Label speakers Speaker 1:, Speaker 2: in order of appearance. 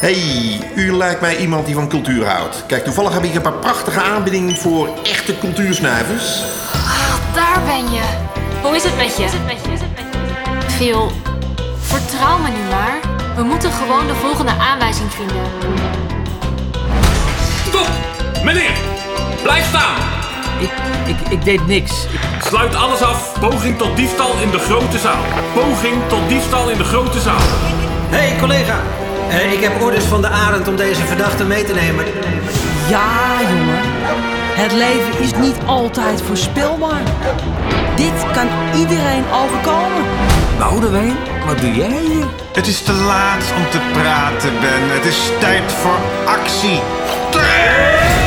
Speaker 1: hey, u lijkt mij iemand die van cultuur houdt. Kijk, toevallig heb ik een paar prachtige aanbiedingen voor echte cultuursnuivers.
Speaker 2: Ah, daar ben je.
Speaker 3: Hoe is het met je?
Speaker 2: Phil, vertrouw me nu maar. We moeten gewoon de volgende aanwijzing vinden.
Speaker 4: Stop! Meneer! Blijf staan!
Speaker 5: Ik, ik, ik deed niks.
Speaker 4: Sluit alles af. Poging tot diefstal in de grote zaal. Poging tot diefstal in de grote zaal.
Speaker 6: Hé, hey, collega. Eh, ik heb orders van de Arend om deze verdachte mee te nemen.
Speaker 5: Ja, jongen. Het leven is niet altijd voorspelbaar. Dit kan iedereen overkomen. Boudewijn, wat doe jij hier?
Speaker 7: Het is te laat om te praten, Ben. Het is tijd voor actie.